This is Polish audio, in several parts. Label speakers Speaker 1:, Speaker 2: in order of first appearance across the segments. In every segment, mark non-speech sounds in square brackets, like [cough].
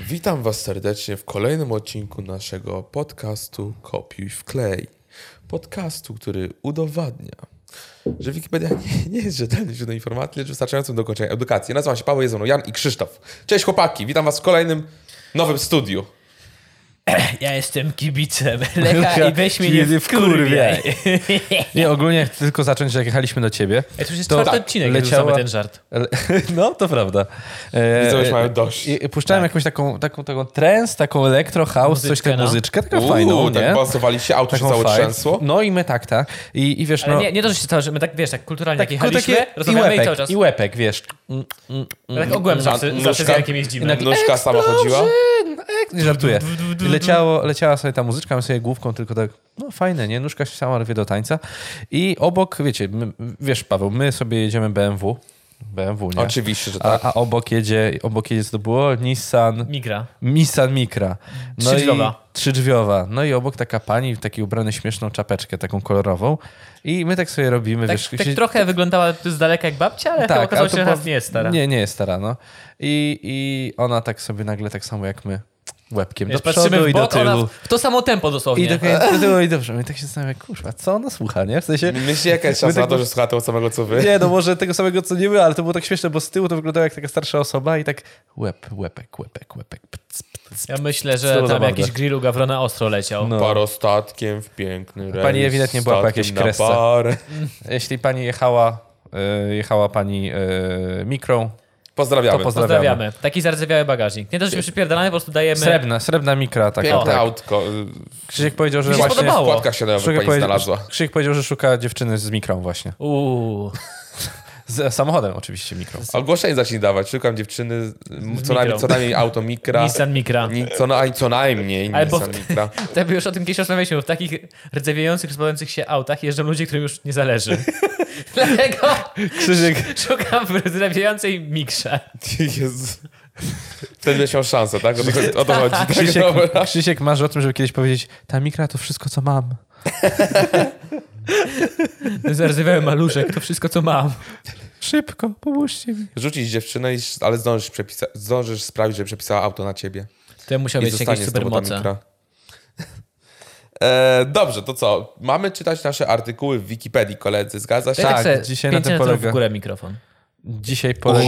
Speaker 1: Witam Was serdecznie w kolejnym odcinku naszego podcastu Kopiuj w klej. Podcastu, który udowadnia, że Wikipedia nie, nie jest rzetelnym źródłem informacji, lecz wystarczającym do ukończenia edukacji. Nazywam się Paweł, jest ze mną Jan i Krzysztof. Cześć chłopaki, witam Was w kolejnym nowym studiu.
Speaker 2: Ja jestem kibicem
Speaker 3: [laughs]
Speaker 2: Lecha i weź mnie nie wkurwiaj.
Speaker 3: Nie, ogólnie chcę tylko zacząć, że jak jechaliśmy do ciebie.
Speaker 2: Ej, to już jest czwarty
Speaker 3: tak,
Speaker 2: odcinek, jak
Speaker 3: leciała-
Speaker 2: rzucamy ten żart.
Speaker 3: Le- [laughs] No, to prawda. E,
Speaker 1: Widzowie już mają dość. Tak.
Speaker 3: I, i puszczałem jakąś taką, taką, taką trance, taką elektro house, coś
Speaker 2: Muzyczkę,
Speaker 3: taką
Speaker 2: no.
Speaker 3: muzyczkę, taką fajną,
Speaker 1: Uuu,
Speaker 3: nie?
Speaker 1: tak basowali się, auto się
Speaker 3: taką
Speaker 1: całe
Speaker 3: fajną.
Speaker 1: trzęsło.
Speaker 3: No i my tak, tak. I, i wiesz,
Speaker 2: Ale
Speaker 3: no...
Speaker 2: nie, nie to, że się stało, że my tak, wiesz, tak kulturalnie tak,
Speaker 3: tak,
Speaker 2: jak jechaliśmy,
Speaker 3: takie- i
Speaker 2: rozmawiamy i, cały
Speaker 3: łepek,
Speaker 2: czas.
Speaker 3: i łepek, wiesz. Mm, mm, mm.
Speaker 2: tak ogółem
Speaker 1: Nóżka-
Speaker 2: zawsze, zawsze z Jankiem jeździmy.
Speaker 3: Inaczej-
Speaker 1: Nóżka sama chodziła.
Speaker 3: Tak, nie żartuję. I Leciało, leciała sobie ta muzyczka, my sobie główką tylko tak, no fajne, nie? Nóżka się sama rwie do tańca. I obok, wiecie, my, wiesz Paweł, my sobie jedziemy BMW. BMW, nie?
Speaker 1: Oczywiście, że
Speaker 3: A,
Speaker 1: tak.
Speaker 3: a obok jedzie, obok jedzie, co to było? Nissan,
Speaker 2: Migra.
Speaker 3: Nissan Micra. No
Speaker 2: Trzydrzwiowa.
Speaker 3: I, trzydrzwiowa. No i obok taka pani w takiej ubranej śmieszną czapeczkę, taką kolorową. I my tak sobie robimy,
Speaker 2: Tak,
Speaker 3: wiesz...
Speaker 2: tak
Speaker 3: się- Tak,
Speaker 2: trochę wyglądała z daleka jak babcia, ale chyba
Speaker 3: ale
Speaker 2: okazało się,
Speaker 3: to
Speaker 2: że
Speaker 3: po-
Speaker 2: nas nie jest stara.
Speaker 3: Nie, nie jest stara, no. I, I ona tak sobie nagle tak samo jak my, łebkiem
Speaker 2: Wiesz,
Speaker 3: do przodu
Speaker 2: patrzymy w
Speaker 3: i do
Speaker 2: bok, ona
Speaker 3: tyłu.
Speaker 2: w, w to samo tempo
Speaker 3: I
Speaker 2: dosłownie.
Speaker 3: do, do tyłu i dobrze. My tak się zastanawiamy, kurwa, co ona słucha, nie? W sensie...
Speaker 1: Myślicie, jaka jest szansa na to, że słucha tego samego co Wy?
Speaker 3: Nie, no może tego samego co nie my, ale to było tak śmieszne, bo z tyłu to wyglądało jak taka starsza osoba i tak łeb, łepek, łepek, łepek. Pc, pc.
Speaker 2: Ja myślę,
Speaker 3: Co
Speaker 2: że
Speaker 3: za
Speaker 2: tam
Speaker 3: mordę.
Speaker 2: jakiś grillu Gawrona ostro leciał.
Speaker 3: No.
Speaker 1: Parostatkiem w piękny rejs.
Speaker 3: Pani ewidentnie była po
Speaker 1: statkiem
Speaker 3: jakiejś
Speaker 1: na
Speaker 3: kresce.
Speaker 1: parę.
Speaker 3: Jeśli pani jechała, e, jechała pani e, mikrą, to
Speaker 1: Pozdrawiamy.
Speaker 3: pozdrawiamy.
Speaker 2: Pozdrawiamy. Taki zardzewiały bagażnik. Nie to, że się przypierdalamy, po prostu dajemy...
Speaker 3: Srebrna, srebrna mikra taka.
Speaker 1: Piękne
Speaker 3: tak.
Speaker 1: autko.
Speaker 3: Krzysiek powiedział, że
Speaker 2: Mi się
Speaker 3: właśnie...
Speaker 2: podobało.
Speaker 1: W płatkach siadowych pani
Speaker 3: powiedział,
Speaker 1: znalazła.
Speaker 3: Krzysiek powiedział, że szuka dziewczyny z mikrą właśnie.
Speaker 2: Uuu.
Speaker 3: Z samochodem oczywiście mikrą.
Speaker 1: Ogłoszeń zacznij dawać. Szukam dziewczyny, m, co
Speaker 2: mikrą.
Speaker 1: najmniej, co najmniej auto
Speaker 3: Tak.
Speaker 1: Mikra.
Speaker 2: Nissan Micra.
Speaker 1: Ni, co, na, co najmniej
Speaker 2: Ale bo-
Speaker 1: Nissan Micra.
Speaker 2: Tak, bo już o tym kiedyś rozmawialiśmy. bo W takich rdzewiejących, rozpadających się autach jeżdżą ludzie, którym już nie zależy. [laughs] Dlatego
Speaker 3: Krzysiek,
Speaker 1: Tak
Speaker 2: szukam w rdzewiejącej mikrze.
Speaker 1: Jezu. Wtedy będziesz miał szansę, tak? O to, o to chodzi. Tak,
Speaker 3: [laughs] Krzysiek,
Speaker 1: dobra.
Speaker 3: Krzysiek marzy o tym, żeby kiedyś powiedzieć, ta mikra to wszystko, co mam.
Speaker 2: Zarzywiałem maluszek, to wszystko co mam.
Speaker 3: Szybko, pomóżcie mi.
Speaker 1: Rzucić dziewczynę, i- ale zdążysz, przepisa- zdążysz sprawić, że przepisała auto na ciebie.
Speaker 2: To musiał
Speaker 1: I
Speaker 2: mieć
Speaker 1: zostanie
Speaker 2: jakieś
Speaker 1: z tobą ta
Speaker 2: supermoce.
Speaker 1: mikra. [laughs] E, dobrze, to co? Mamy czytać nasze artykuły w Wikipedii, koledzy, zgadza się?
Speaker 3: Ja tak
Speaker 2: se
Speaker 3: dzisiaj na
Speaker 2: 5
Speaker 3: tym
Speaker 2: metrów
Speaker 3: polega.
Speaker 2: w górę mikrofon.
Speaker 3: Dzisiaj polega...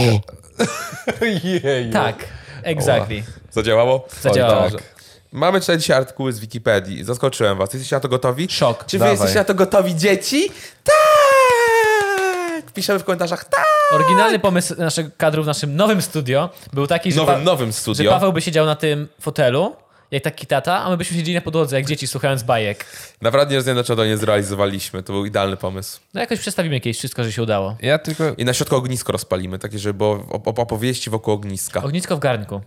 Speaker 1: [laughs]
Speaker 3: Jeju.
Speaker 2: Tak, exactly.
Speaker 1: Zadziałało?
Speaker 2: Zadziałało. Tak.
Speaker 1: Oj, dobrze. Mamy czytać dzisiaj artykuły z Wikipedii. Zaskoczyłem was. Jesteście na to gotowi?
Speaker 2: Szok.
Speaker 1: Czy wy
Speaker 3: Dawaj.
Speaker 1: jesteście na to gotowi, dzieci? Tak! Piszemy w komentarzach tak!
Speaker 2: Oryginalny pomysł naszego kadru w naszym nowym studio był taki, że,
Speaker 1: Nowym,
Speaker 2: pa-
Speaker 1: nowym
Speaker 2: że
Speaker 1: studio.
Speaker 2: Paweł by siedział na tym fotelu, jak taki tata, a my byśmy siedzieli na podłodze, jak dzieci, słuchając bajek.
Speaker 1: Naprawdę nie rozumiem, dlaczego to nie zrealizowaliśmy. To był idealny pomysł.
Speaker 2: No jakoś przestawimy jakieś wszystko, że się udało.
Speaker 3: Ja tylko...
Speaker 1: I na środku ognisko rozpalimy, takie, żeby było op- op- opowieści wokół ogniska.
Speaker 2: Ognisko w garnku.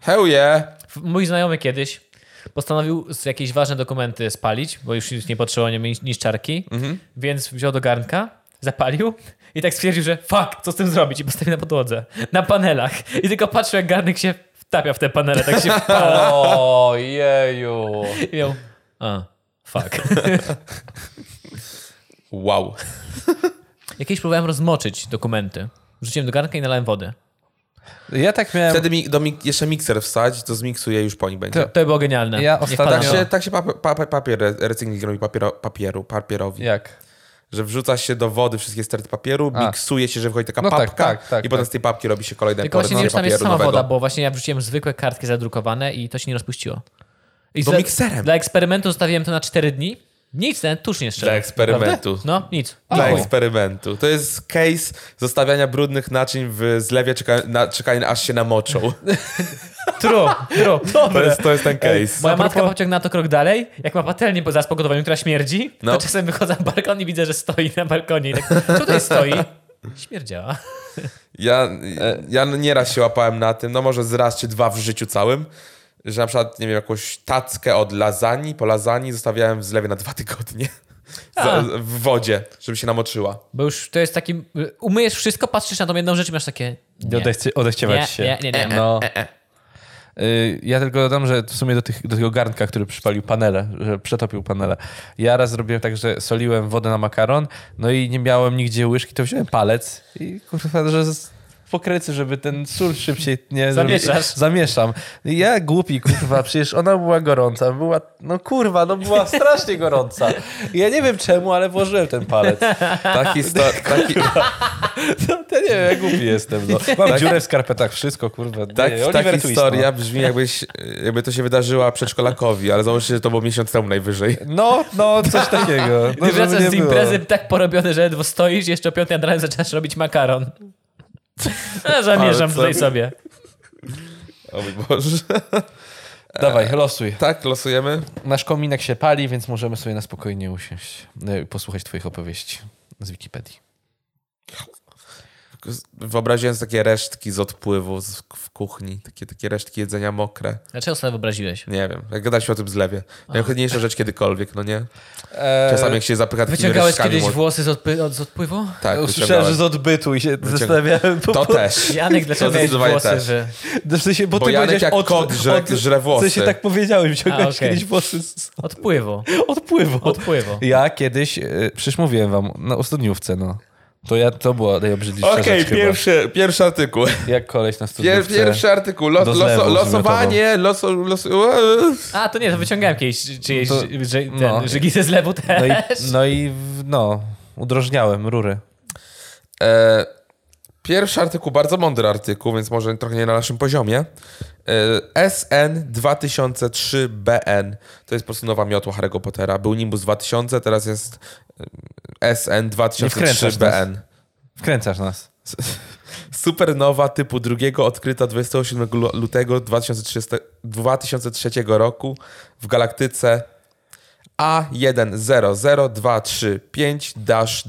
Speaker 1: Hell yeah!
Speaker 2: Mój znajomy kiedyś postanowił z- jakieś ważne dokumenty spalić, bo już nic nie potrzebował nie mieć niszczarki, więc wziął do garnka, zapalił i tak stwierdził, że fuck, co z tym zrobić? I postawił na podłodze, na panelach. I tylko patrzył, jak garnek się wtapia w te panele, tak się wpala.
Speaker 3: Ojeju.
Speaker 2: I miał, a, fuck. [laughs]
Speaker 1: Wow.
Speaker 2: Jakieś próbowałem rozmoczyć dokumenty. Wrzuciłem do garnka i nalałem wodę.
Speaker 3: Ja tak miałem...
Speaker 1: Wtedy mi, do mik- jeszcze mikser wsadź, to zmiksuję już po nich będzie.
Speaker 3: To-
Speaker 2: To No. było genialne.
Speaker 3: Ja
Speaker 2: Niech
Speaker 3: ostatnio-
Speaker 2: pana-
Speaker 1: tak, się, tak się pap- pap- papier re- recykling robi papiero, papieru, papierowi.
Speaker 3: Jak?
Speaker 1: Że wrzuca się do wody wszystkie straty papieru,
Speaker 3: A.
Speaker 1: miksuje się, że wychodzi taka
Speaker 3: No tak,
Speaker 1: papka
Speaker 3: tak, tak,
Speaker 1: i potem
Speaker 3: tak.
Speaker 1: z tej papki robi się kolejne
Speaker 2: Tylko właśnie
Speaker 1: porcje
Speaker 2: nie wiem, czy tam jest sama
Speaker 1: papieru
Speaker 2: woda,
Speaker 1: nowego.
Speaker 2: bo właśnie ja wrzuciłem zwykłe kartki zadrukowane i to się nie rozpuściło. I
Speaker 1: Bo
Speaker 2: za-
Speaker 1: mikserem.
Speaker 2: Dla eksperymentu zostawiłem to na 4 dni. Nic, ten tuż nie strzela.
Speaker 1: Dla eksperymentu.
Speaker 2: No, nic.
Speaker 1: Dla
Speaker 2: Oj.
Speaker 1: eksperymentu. To jest case zostawiania brudnych naczyń w zlewie, czeka, na, czekając aż się
Speaker 3: [laughs]
Speaker 1: namoczą.
Speaker 2: True, true.
Speaker 1: [laughs] To
Speaker 2: Dobre.
Speaker 1: jest, to jest ten case.
Speaker 2: Moja matka pociągnęła to krok dalej. Jak ma patelnię po zaspokojowaniu, która śmierdzi,
Speaker 1: No.
Speaker 2: to czasem wychodzę na balkon i widzę, że stoi na balkonie. I tak, co tutaj stoi? Śmierdziała.
Speaker 1: Ja, ja nieraz się łapałem na tym, no może z raz czy dwa w życiu całym, że na przykład, nie wiem, jakąś tackę od lasagni, po lasagni zostawiałem w zlewie na dwa tygodnie.
Speaker 2: A.
Speaker 1: Za, w wodzie, żeby się namoczyła.
Speaker 2: Bo już to jest taki... y, Umyjesz wszystko, patrzysz na tą jedną rzecz i masz takie...
Speaker 1: No,
Speaker 2: Nie,
Speaker 3: Odechcie, odechciewać
Speaker 2: Nie,
Speaker 3: się.
Speaker 2: nie, nie, nie.
Speaker 3: No. Y, Ja tylko dodam, że w sumie do, tych, do tego garnka, który przypalił panele, że przetopił panele. Ja raz zrobiłem tak, że soliłem wodę na makaron, no i nie miałem nigdzie łyżki, to wziąłem palec i kurwa, że z- pokrecy, żeby ten sól szybciej nie...
Speaker 2: Zamieszasz.
Speaker 3: Zamieszam. Ja głupi, kurwa, przecież ona była gorąca, była, no kurwa, no była strasznie gorąca. Ja nie wiem czemu, ale włożyłem
Speaker 2: [laughs]
Speaker 3: ten palec.
Speaker 1: Taki,
Speaker 3: [laughs]
Speaker 1: sta- taki,
Speaker 3: No, to nie wiem, jak głupi jestem, [laughs] no. Mam dziurę w skarpetach, wszystko, kurwa.
Speaker 1: tak,
Speaker 3: nie,
Speaker 1: taka
Speaker 3: Oliver Twist, no.
Speaker 1: historia brzmi jakbyś, jakby to się wydarzyła przedszkolakowi, ale założę się, że to było miesiąc temu najwyżej.
Speaker 3: No, no, no, coś [laughs] takiego. No,
Speaker 2: Ty
Speaker 3: żeby
Speaker 2: wracasz
Speaker 3: nie
Speaker 2: z
Speaker 3: było.
Speaker 2: imprezy tak porobiony, że ledwo stoisz, jeszcze o piątej nad ranem zaczynasz robić makaron. A zamierzam
Speaker 1: Palcem.
Speaker 2: tutaj sobie.
Speaker 1: O mój Boże.
Speaker 3: Dawaj, losuj.
Speaker 1: [laughs] Tak, losujemy.
Speaker 3: Nasz kominek się pali, więc możemy sobie na spokojnie usiąść, e, posłuchać twoich opowieści z Wikipedii.
Speaker 1: Wyobraziłem sobie takie resztki z odpływu z, w kuchni, takie, takie resztki jedzenia mokre.
Speaker 2: Dlaczego sobie wyobraziłeś?
Speaker 1: Nie wiem, jak gadaliśmy o tym zlewie. Najchodniejsza rzecz kiedykolwiek, no nie?
Speaker 3: E,
Speaker 1: Czasami jak się zapycha takimi
Speaker 2: Wyciągałeś
Speaker 1: resztkami
Speaker 2: kiedyś
Speaker 1: mok-
Speaker 2: włosy z, odpy- od, z odpływu?
Speaker 1: Tak,
Speaker 3: Usłyszałem, że
Speaker 1: wyciągałem.
Speaker 3: z odbytu i się zastanawiałem. Po,
Speaker 1: To
Speaker 3: po,
Speaker 1: też.
Speaker 2: Janek, dlaczego miałeś
Speaker 1: zdecydowanie
Speaker 2: włosy,
Speaker 3: tak.
Speaker 1: też.
Speaker 2: że...
Speaker 3: w sensie, bo,
Speaker 1: Bo
Speaker 3: ty
Speaker 1: Janek
Speaker 3: powiedziałeś
Speaker 1: jak
Speaker 3: od,
Speaker 1: kot żre- żre
Speaker 3: W
Speaker 1: włosy.
Speaker 3: sensie tak powiedziałem, wziąłeś
Speaker 2: A, okej.
Speaker 3: kiedyś włosy z
Speaker 2: Odpływu.
Speaker 3: odpływu.
Speaker 2: Odpływu.
Speaker 3: Ja kiedyś, e, przecież mówiłem wam, na studniówce, no. To ja, to była najobrzydliwsza
Speaker 1: Okej,
Speaker 3: rzecz
Speaker 1: pierwszy, pierwszy artykuł.
Speaker 3: chyba. Jak koleś na
Speaker 1: Pier,
Speaker 3: studniówce.
Speaker 1: pierwszy artykuł. Los,
Speaker 3: do
Speaker 1: loso,
Speaker 3: zlewu
Speaker 1: losowanie, loso, loso, eee.
Speaker 2: A, to nie, to wyciągałem kiedyś czy- czyjeś
Speaker 3: To-
Speaker 2: ży- ży- ten,
Speaker 3: no.
Speaker 2: żygi ze zlewu
Speaker 3: No i,
Speaker 2: też.
Speaker 3: no i, w- no, udrożniałem rury.
Speaker 1: E, Pierwszy artykuł, bardzo mądry artykuł, więc może trochę nie na naszym poziomie. E, SN 2003BN. To jest po prostu nowa miotła Harry'ego Pottera. Był Nimbus 2000, teraz jest e, SN
Speaker 3: wkręcasz nas.
Speaker 1: 2003BN.
Speaker 3: Wkręcasz nas.
Speaker 1: Supernowa typu drugiego odkryta 27 lu- lutego 2030, 2003 roku w galaktyce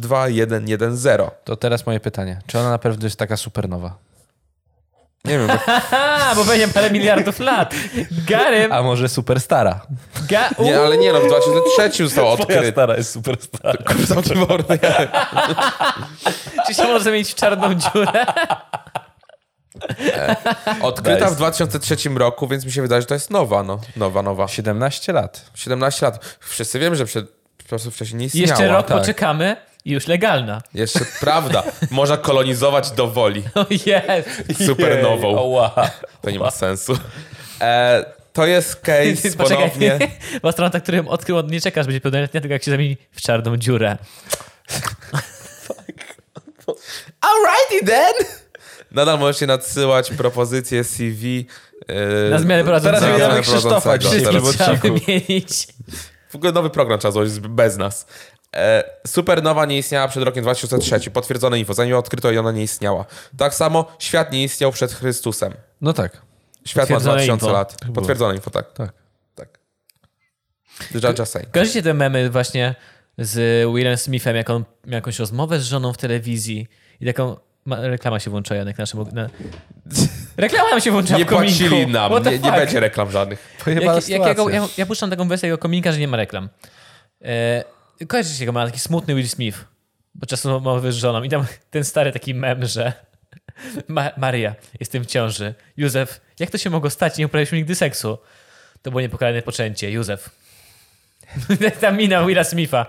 Speaker 1: A1000235-2110.
Speaker 3: To teraz moje pytanie. Czy ona na pewno jest taka supernowa?
Speaker 1: Nie wiem,
Speaker 2: A, bo będzie parę miliardów lat. Garym.
Speaker 3: A może superstara?
Speaker 2: Ga...
Speaker 1: Nie, ale nie no, w 2003 został odkryty.
Speaker 3: stara jest superstara.
Speaker 1: Zamki mordy.
Speaker 2: Czy się może zamienić w czarną dziurę?
Speaker 1: Odkryta
Speaker 3: Nice.
Speaker 1: w 2003 roku, więc mi się wydaje, że to jest nowa, no. Nowa, nowa.
Speaker 3: 17 lat.
Speaker 1: 17 lat. Wszyscy wiemy, że przed, po prostu wcześniej nie istniała.
Speaker 2: Jeszcze rok
Speaker 1: tak.
Speaker 2: poczekamy i już legalna.
Speaker 1: Jeszcze prawda. Można kolonizować do
Speaker 3: [laughs]
Speaker 1: woli
Speaker 2: O No jest.
Speaker 1: supernową.
Speaker 3: Oła.
Speaker 1: To nie ma sensu. E, to jest
Speaker 2: [laughs]
Speaker 1: case ponownie.
Speaker 2: W astronauta, którym odkrył, on nie czekasz, będzie pełnoletnia, tylko jak się zamieni w czarną dziurę.
Speaker 1: Alrighty then! Nadal możecie nadsyłać propozycje CV. e,
Speaker 2: Na zmianę prowadzącego.
Speaker 1: na
Speaker 2: Teraz
Speaker 1: zmianę
Speaker 3: wiadomo, Krzysztofa
Speaker 1: prowadzącego.
Speaker 3: dzisiaj
Speaker 1: Teraz-
Speaker 3: w
Speaker 2: Trzeba
Speaker 3: odcinku.
Speaker 2: wymienić.
Speaker 1: W ogóle nowy program trzeba złożyć z- bez nas. E, supernowa nie istniała przed rokiem 2003. Potwierdzone info. Zanim ją odkryto i ona nie istniała. Tak samo świat nie istniał przed Chrystusem.
Speaker 3: No tak.
Speaker 1: Świat ma
Speaker 2: Potwierdzone
Speaker 1: 2000
Speaker 2: info.
Speaker 1: lat. Potwierdzone info, tak.
Speaker 3: Tak.
Speaker 1: tak. Jaja Sejn.
Speaker 2: Kojarzycie te memy właśnie z Willem Smithem, jak on miał jakąś rozmowę z żoną w telewizji i taką... Ma, reklama się włączyła, Janek, naszym... Na...
Speaker 1: [laughs]
Speaker 2: Reklama nam się włączyła
Speaker 1: Nie
Speaker 2: w kominku.
Speaker 1: płacili nam.
Speaker 2: What the
Speaker 1: Nie, nie
Speaker 2: fuck?
Speaker 1: będzie reklam żadnych.
Speaker 3: Pojebana
Speaker 2: Jak,
Speaker 3: sytuacja.
Speaker 2: jakiego, ja, ja puszczam taką wersję jego kominka, że nie ma reklam. E, kojarzycie go, ma taki smutny Will Smith, podczas rozmowy z żoną. I tam ten stary taki mem, że [laughs] Ma Maria, jestem w ciąży. Józef, jak to się mogło stać? Nie uprawialiśmy nigdy seksu. To było niepokalane poczęcie. Józef. [laughs] Ta mina Willa Smitha.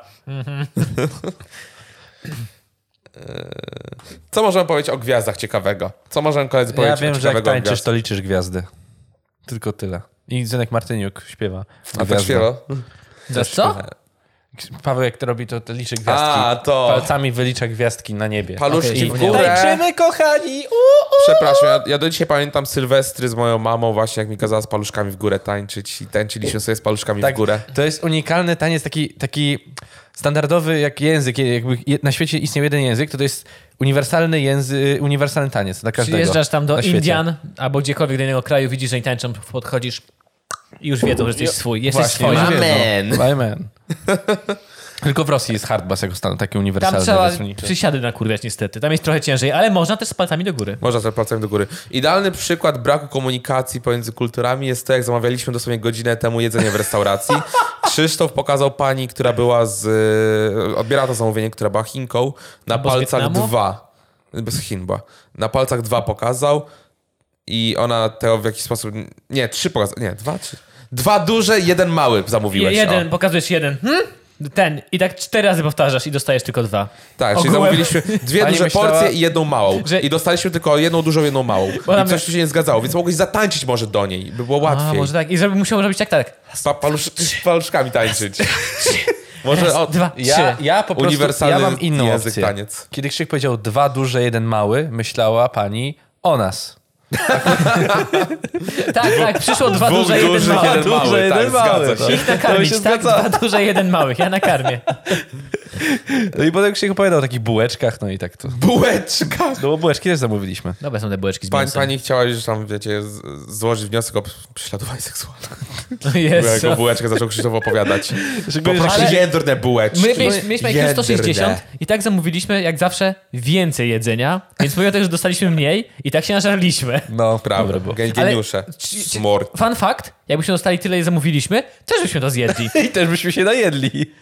Speaker 1: Co możemy powiedzieć o gwiazdach ciekawego? Co możemy koledzy
Speaker 3: Ja
Speaker 1: powiedzieć
Speaker 3: wiem,
Speaker 1: o
Speaker 3: że jak
Speaker 1: ciekawego o
Speaker 3: tańczysz,
Speaker 1: gwiazd?
Speaker 3: to liczysz gwiazdy. Tylko tyle. I Zenek Martyniuk śpiewa.
Speaker 1: A tak świero?
Speaker 2: Za co?
Speaker 3: Paweł jak to robi, to, to liczy gwiazdki.
Speaker 1: A, to...
Speaker 3: Palcami wylicza gwiazdki na niebie.
Speaker 1: Paluszki
Speaker 2: Okej,
Speaker 1: w górę.
Speaker 3: Tańczymy, kochani! Uuu!
Speaker 1: Przepraszam, ja, ja do dzisiaj pamiętam Sylwestry z moją mamą właśnie, jak mi kazała z paluszkami w górę tańczyć i tańczyliśmy sobie z paluszkami
Speaker 3: Tak,
Speaker 1: w górę.
Speaker 3: To jest unikalny taniec, taki, taki standardowy jak język. Jakby je- na świecie istniał jeden język, to to jest uniwersalny język, uniwersalny taniec dla każdego.
Speaker 2: Przyjeżdżasz tam do
Speaker 3: na świecie.
Speaker 2: Indian albo gdziekolwiek do innego kraju, widzisz, że oni tańczą, podchodzisz i już wiedzą, że jesteś swój. Jesteś
Speaker 3: Właśnie,
Speaker 2: swój.
Speaker 3: już
Speaker 1: Amen.
Speaker 3: wiedzą. Amen. [laughs] Tylko w Rosji jest hardbass jako stan, taki
Speaker 2: Tam
Speaker 3: uniwersalny.
Speaker 2: trzeba
Speaker 3: zasadniczo.
Speaker 2: przysiady nakurwiać niestety. Tam jest trochę ciężej, ale można też z palcami do góry.
Speaker 1: Można sobie palcem do góry. Idealny przykład braku komunikacji pomiędzy kulturami jest to, jak zamawialiśmy dosłownie godzinę temu jedzenie w
Speaker 2: [laughs]
Speaker 1: restauracji. Krzysztof pokazał pani, która była z... y, odbierała to zamówienie, która była Chinką, na
Speaker 2: Albo z
Speaker 1: palcach
Speaker 2: Wietnamu?
Speaker 1: dwa. Bez Chin była. Na palcach dwa pokazał i ona to w jakiś sposób... Nie, trzy pokazał. Nie, dwa, trzy. Dwa duże, jeden mały zamówiłeś.
Speaker 2: jeden, pokazujesz jeden. Hmm? ten i tak cztery razy powtarzasz i dostajesz tylko dwa.
Speaker 1: Tak, czyli
Speaker 2: Ogółem.
Speaker 1: zamówiliśmy dwie
Speaker 3: Pani
Speaker 1: duże
Speaker 3: myślała-
Speaker 1: porcje i jedną małą.
Speaker 2: Że-
Speaker 1: I dostaliśmy tylko jedną dużą, jedną małą.
Speaker 2: Bo
Speaker 1: I
Speaker 2: nam-
Speaker 1: coś tu się nie zgadzało, więc mogłeś zatańczyć może do niej, by było
Speaker 2: A,
Speaker 1: łatwiej.
Speaker 2: może tak. I żeby musiał robić tak, tak.
Speaker 1: Pa, palusz, paluszkami tańczyć.
Speaker 2: Raz,
Speaker 1: może o,
Speaker 2: dwa,
Speaker 3: Ja,
Speaker 2: trzy.
Speaker 3: ja po prostu
Speaker 1: uniwersalny
Speaker 3: ja mam inną
Speaker 1: język,
Speaker 3: opcję.
Speaker 1: taniec.
Speaker 3: Kiedy Krzyk powiedział dwa duże, jeden mały, myślała pani o nas.
Speaker 2: Tak, tak, przyszło dwa duże, jeden
Speaker 1: dużych,
Speaker 2: mały.
Speaker 1: jeden mały,
Speaker 3: Duże,
Speaker 1: tak,
Speaker 3: jeden mały,
Speaker 1: zgadza
Speaker 3: tak.
Speaker 1: się.
Speaker 2: Ich nakarmić,
Speaker 3: To się
Speaker 2: tak?
Speaker 3: zgadza.
Speaker 2: Dwa duże, jeden mały. Ja nakarmię.
Speaker 3: No i potem Krzyk opowiadał o takich bułeczkach, no i tak to.
Speaker 1: Bułeczka!
Speaker 3: No bo bułeczki też zamówiliśmy.
Speaker 2: Dobra, są te bułeczki z
Speaker 1: Pani,
Speaker 2: mięsem.
Speaker 1: pani chciała już tam, wiecie, z, złożyć wniosek o prześladowanie seksualne.
Speaker 2: No [laughs]
Speaker 1: Jak
Speaker 2: jest.
Speaker 1: o bułeczkę zaczął Krzysztof
Speaker 2: [laughs]
Speaker 1: opowiadać. Po
Speaker 3: Ale-
Speaker 1: prostu jędrne bułeczki.
Speaker 2: My mieliśmy, mieliśmy jakieś
Speaker 1: Jędrne.
Speaker 2: 160 i tak zamówiliśmy, jak zawsze, więcej jedzenia, więc pomimo tego, że dostaliśmy mniej i tak się nażarliśmy.
Speaker 3: No,
Speaker 1: Prawda,
Speaker 3: dobre było.
Speaker 1: gen- geniusze.
Speaker 2: Ale- czy- czy-
Speaker 1: Smor.
Speaker 2: Fun fact, jakbyśmy dostali tyle, ile zamówiliśmy, też byśmy to
Speaker 3: [laughs]
Speaker 2: zjedli.
Speaker 3: I też byśmy się najedli.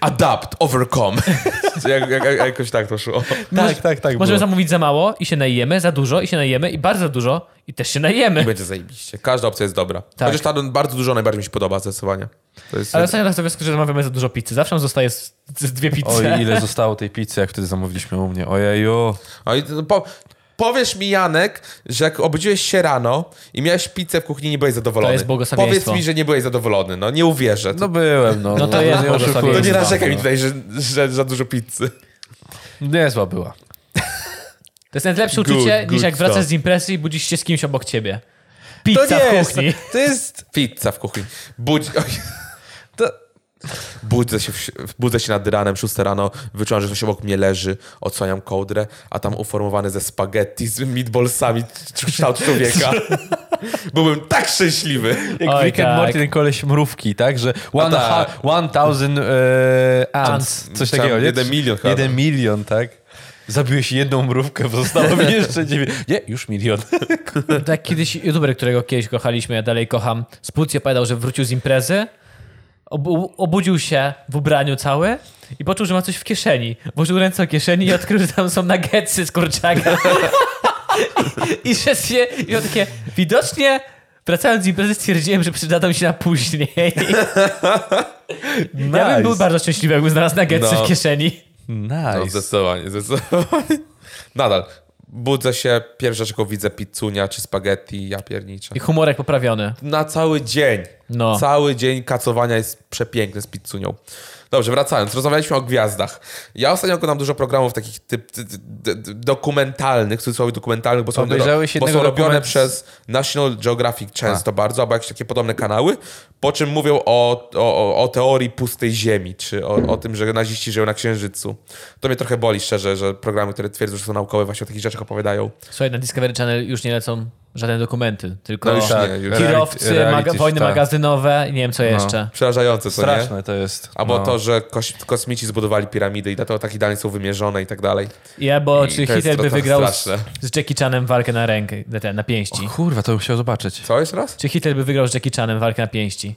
Speaker 1: Adapt, overcome. [laughs] jak, jak, jak, jakoś tak to szło.
Speaker 3: Tak, tak, tak.
Speaker 2: Możemy
Speaker 3: było.
Speaker 2: zamówić za mało i się najemy, za dużo i się najemy i bardzo dużo i też się najemy.
Speaker 1: I będzie zajebiście. Każda opcja jest dobra.
Speaker 2: Tak.
Speaker 1: Chociaż ta no, bardzo dużo najbardziej mi się podoba zdecydowanie. To jest
Speaker 2: Ale ostatnio raz dowioskę, że zamawiamy za dużo pizzy. Zawsze nam zostaje z, z dwie pizze.
Speaker 1: [laughs]
Speaker 3: Oj, ile zostało tej pizzy, jak wtedy zamówiliśmy u mnie. Ojeju.
Speaker 1: A i- no, po, powiesz mi, Janek, że jak obudziłeś się rano i miałeś pizzę w kuchni, nie byłeś zadowolony.
Speaker 2: To jest błogosławieństwo.
Speaker 1: Powiedz mi, że nie byłeś zadowolony. No nie uwierzę.
Speaker 3: No
Speaker 1: To,
Speaker 3: byłem, no.
Speaker 2: No to jest
Speaker 3: nie
Speaker 2: błogosławieństwo.
Speaker 1: to
Speaker 3: oszukuję.
Speaker 1: nie
Speaker 2: jest
Speaker 1: narzekaj
Speaker 2: znowu,
Speaker 1: mi
Speaker 2: no.
Speaker 1: tutaj, że, że za dużo pizzy.
Speaker 3: Niezła była.
Speaker 2: To jest najlepsze
Speaker 1: Good,
Speaker 2: uczucie,
Speaker 1: good
Speaker 2: niż jak
Speaker 1: stuff.
Speaker 2: wracasz z imprezy i budzisz się z kimś obok ciebie. Pizza w kuchni.
Speaker 3: Jest, to jest...
Speaker 1: Pizza w kuchni. Budź, oj,
Speaker 3: To...
Speaker 1: budzę, się, w- budzę się nad ranem, 6 rano, wyczułam, że ktoś obok mnie leży, odsłaniam kołdrę, a tam uformowany ze spaghetti, z meatballsami kształt
Speaker 3: [laughs]
Speaker 1: człowieka. Byłbym tak szczęśliwy.
Speaker 2: Oj,
Speaker 3: Jak Oj, Rick and
Speaker 2: tak.
Speaker 3: Morty, ten koleś mrówki, tak? Że
Speaker 1: A
Speaker 3: one
Speaker 1: tak.
Speaker 3: ha- one thousand e, ants.
Speaker 2: Ants.
Speaker 3: Coś
Speaker 1: Tam
Speaker 3: takiego, nie?
Speaker 1: jeden milion chyba.
Speaker 3: Jeden milion, tak? Zabiłeś jedną mrówkę, zostało
Speaker 1: [laughs]
Speaker 3: mi jeszcze dziewięć. Nie, już milion.
Speaker 2: Tak kiedyś youtuber, którego kiedyś kochaliśmy, ja dalej kocham, z Pucji opowiadał, że wrócił z imprezy, obu- obudził się w ubraniu cały i poczuł, że ma coś w kieszeni. Włożył ręce do kieszeni i odkrył, że tam są nuggetsy z kurczaka. I, i że się, i on takie, widocznie wracając z imprezy stwierdziłem, że przydadzą mi się na później. Ja bym był bardzo szczęśliwy, jakbym znalazł nuggetsy
Speaker 1: No.
Speaker 2: w kieszeni.
Speaker 1: No,
Speaker 3: Nice.
Speaker 1: zdecydowanie, zdecydowanie. Nadal. Budzę się, pierwsza rzecz, jaką widzę, pizzunia czy spaghetti, ja pierniczę.
Speaker 2: I humorek poprawiony.
Speaker 1: Na cały dzień.
Speaker 2: No.
Speaker 1: Cały dzień kacowania jest przepiękny z pizzunią. Dobrze, wracając. Rozmawialiśmy o gwiazdach. Ja ostatnio oglądam dużo programów takich typ, ty, ty, d- d- dokumentalnych, w cudzysłowie dokumentalnych, bo są,
Speaker 3: Obejrzałeś
Speaker 1: bo są
Speaker 3: jednego
Speaker 1: robione
Speaker 3: dokument-
Speaker 1: przez National Geographic często bardzo, albo jakieś takie podobne kanały, po czym mówią o, o, o- o teorii pustej ziemi, czy o, o tym, że naziści żyją na Księżycu. To mnie trochę boli szczerze, że programy, które twierdzą, że są naukowe, właśnie o takich rzeczach opowiadają.
Speaker 2: Słuchaj, na Discovery Channel już nie lecą żadne dokumenty, tylko
Speaker 1: No już
Speaker 3: Tak.
Speaker 1: nie, już.
Speaker 3: Reality-
Speaker 2: kierowcy,
Speaker 3: reality,
Speaker 2: maga- wojny
Speaker 3: tak.
Speaker 2: magazynowe i nie wiem
Speaker 1: No.
Speaker 2: co jeszcze.
Speaker 1: Przerażające, co nie?
Speaker 3: Straszne to jest.
Speaker 1: Albo
Speaker 3: No.
Speaker 1: to, że koś, kosmici zbudowali piramidy i dlatego tak idealnie są wymierzone i tak dalej.
Speaker 2: Ja, bo
Speaker 1: I
Speaker 2: czy
Speaker 1: to jest
Speaker 2: Hitler by
Speaker 1: trochę
Speaker 2: wygrał z,
Speaker 1: straszne.
Speaker 2: z Jackie Chanem walkę na rękę, na, te- na pięści?
Speaker 3: Kurwa, to bym chciał zobaczyć.
Speaker 1: Co jeszcze raz?
Speaker 2: Czy Hitler by wygrał z Jackie Chanem walkę na pięści?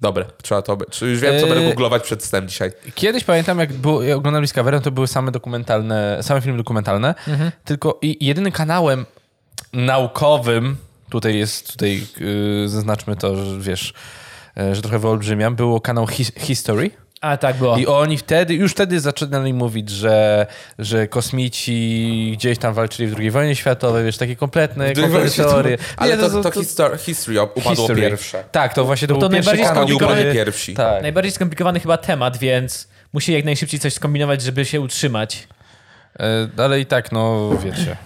Speaker 1: Dobre. Trzeba to być. Już wiem, co
Speaker 3: Yy.
Speaker 1: będę googlować przed snem dzisiaj.
Speaker 3: Kiedyś pamiętam, jak, było, jak oglądałem Discovery, to były same dokumentalne, same filmy dokumentalne, tylko i jedynym kanałem naukowym, tutaj jest, tutaj yy, zaznaczmy to, że wiesz, yy, że trochę wyolbrzymiam, było kanał His History.
Speaker 2: A tak było.
Speaker 3: I oni wtedy, już wtedy zaczynali mówić, że, że kosmici gdzieś tam walczyli w II wojnie światowej, wiesz, takie kompletne, kompletne teorie.
Speaker 1: Ale
Speaker 3: Nie, no,
Speaker 1: to, to, histor- history op- upadło
Speaker 3: History.
Speaker 1: pierwsze.
Speaker 3: Tak, to właśnie to,
Speaker 2: to
Speaker 3: był pierwszy
Speaker 2: najbardziej
Speaker 3: kanał.
Speaker 1: Oni
Speaker 2: skomplikowany-
Speaker 1: upadli
Speaker 3: który-
Speaker 1: pierwsi.
Speaker 3: Tak.
Speaker 2: Najbardziej skomplikowany chyba temat, więc musi jak najszybciej coś skombinować, żeby się utrzymać.
Speaker 3: E, Ale i tak, no wiecie.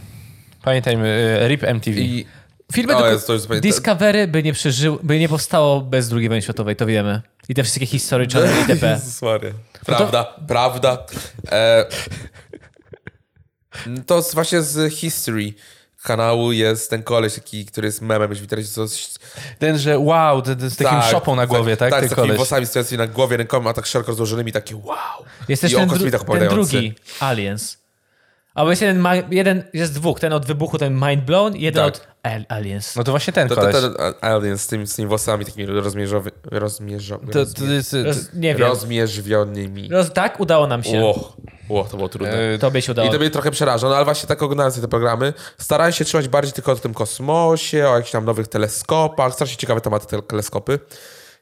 Speaker 3: Pamiętajmy, e, RIP MTV.
Speaker 1: I
Speaker 2: Filmy
Speaker 1: O,
Speaker 2: doku-
Speaker 1: jest to już zupełnie-
Speaker 2: Discovery by nie przeżył, by nie powstało bez II wojny światowej, to wiemy. I te wszystkie historie
Speaker 1: [laughs]
Speaker 2: Channel ITP.
Speaker 1: Jezus Maria.
Speaker 3: No
Speaker 1: Prawda, prawda. E, to z- właśnie z History kanału jest ten koleś taki, który jest memem, jeśli widzieliście, co z
Speaker 3: Ten, że wow, ten, ten z takim szopą na głowie, tak?
Speaker 1: Tak,
Speaker 3: ten
Speaker 1: z takimi
Speaker 3: koleś.
Speaker 1: włosami stojącymi na głowie, rękoma tak szeroko rozłożonymi, takie wow.
Speaker 2: Jest też
Speaker 1: I o
Speaker 2: ten,
Speaker 1: kosmitach
Speaker 2: dru- ten
Speaker 1: tak opowiadający.
Speaker 2: drugi, Aliens. Albo jest jeden, ma- jeden, jest dwóch. Ten od wybuchu, ten Mind Blown, jeden
Speaker 1: Tak.
Speaker 2: od Al- Aliens.
Speaker 3: No to właśnie ten
Speaker 1: To, to,
Speaker 3: koleś.
Speaker 1: to, alien z tymi, z tymi włosami takimi rozmierzowy, rozmierzowy,
Speaker 3: To,
Speaker 1: rozmier-
Speaker 3: to jest, e,
Speaker 2: Roz, nie wiem.
Speaker 1: rozmierzwionymi.
Speaker 2: Roz, tak, udało nam się.
Speaker 1: Łoch, łoch, to było trudne.
Speaker 3: e,
Speaker 2: Tobie się udało.
Speaker 1: I to mnie trochę przeraża, no ale właśnie tak oglądałem sobie te programy. Starałem się trzymać bardziej tylko o tym kosmosie, o jakichś tam nowych teleskopach. Strasznie ciekawe tematy te teleskopy.